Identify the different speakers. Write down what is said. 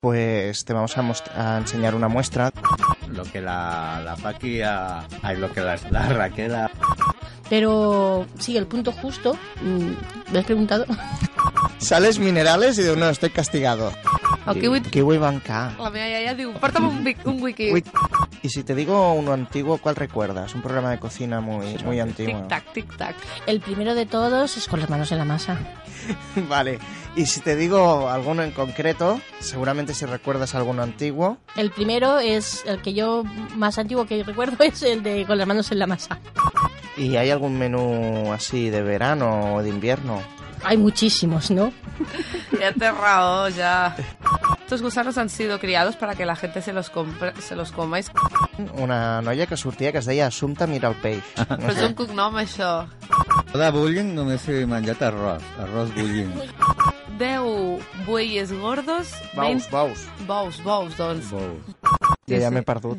Speaker 1: Pues te vamos a, most- a enseñar una muestra.
Speaker 2: Lo que la, la Paqui a, ay, lo que la, la Raquel a-
Speaker 3: Pero sí, el punto justo, mm, ¿me has preguntado?
Speaker 1: Sales minerales y de uno estoy castigado.
Speaker 4: El kiwi...
Speaker 1: Kiwi banca.
Speaker 4: La meva iaia diu, porta'm un, vi- un wiki.
Speaker 1: Uy, Y si te digo uno antiguo, ¿cuál recuerdas? Un programa de cocina muy, muy antiguo.
Speaker 4: Tic-tac, tic-tac.
Speaker 3: El primero de todos es con las manos en la masa.
Speaker 1: Vale. Y si te digo alguno en concreto, seguramente si recuerdas alguno antiguo.
Speaker 3: El primero es el que yo más antiguo que recuerdo es el de con las manos en la masa.
Speaker 1: ¿Y hay algún menú así de verano o de invierno?
Speaker 3: Hay muchísimos, ¿no?
Speaker 4: Ya te rao, ya. Estos gusanos han sido criados para que la gente se los, compre, se los coma. És-
Speaker 1: Una noia que sortia que es deia Assumpta Mira el Peix.
Speaker 4: Però és un cognom, això.
Speaker 2: De bullying només he menjat arròs, arròs bullying.
Speaker 4: 10 bueyes gordos, 20
Speaker 1: Baus, baus.
Speaker 4: bous, bous, doncs.
Speaker 2: Bous.
Speaker 1: Jo ja m'he perdut.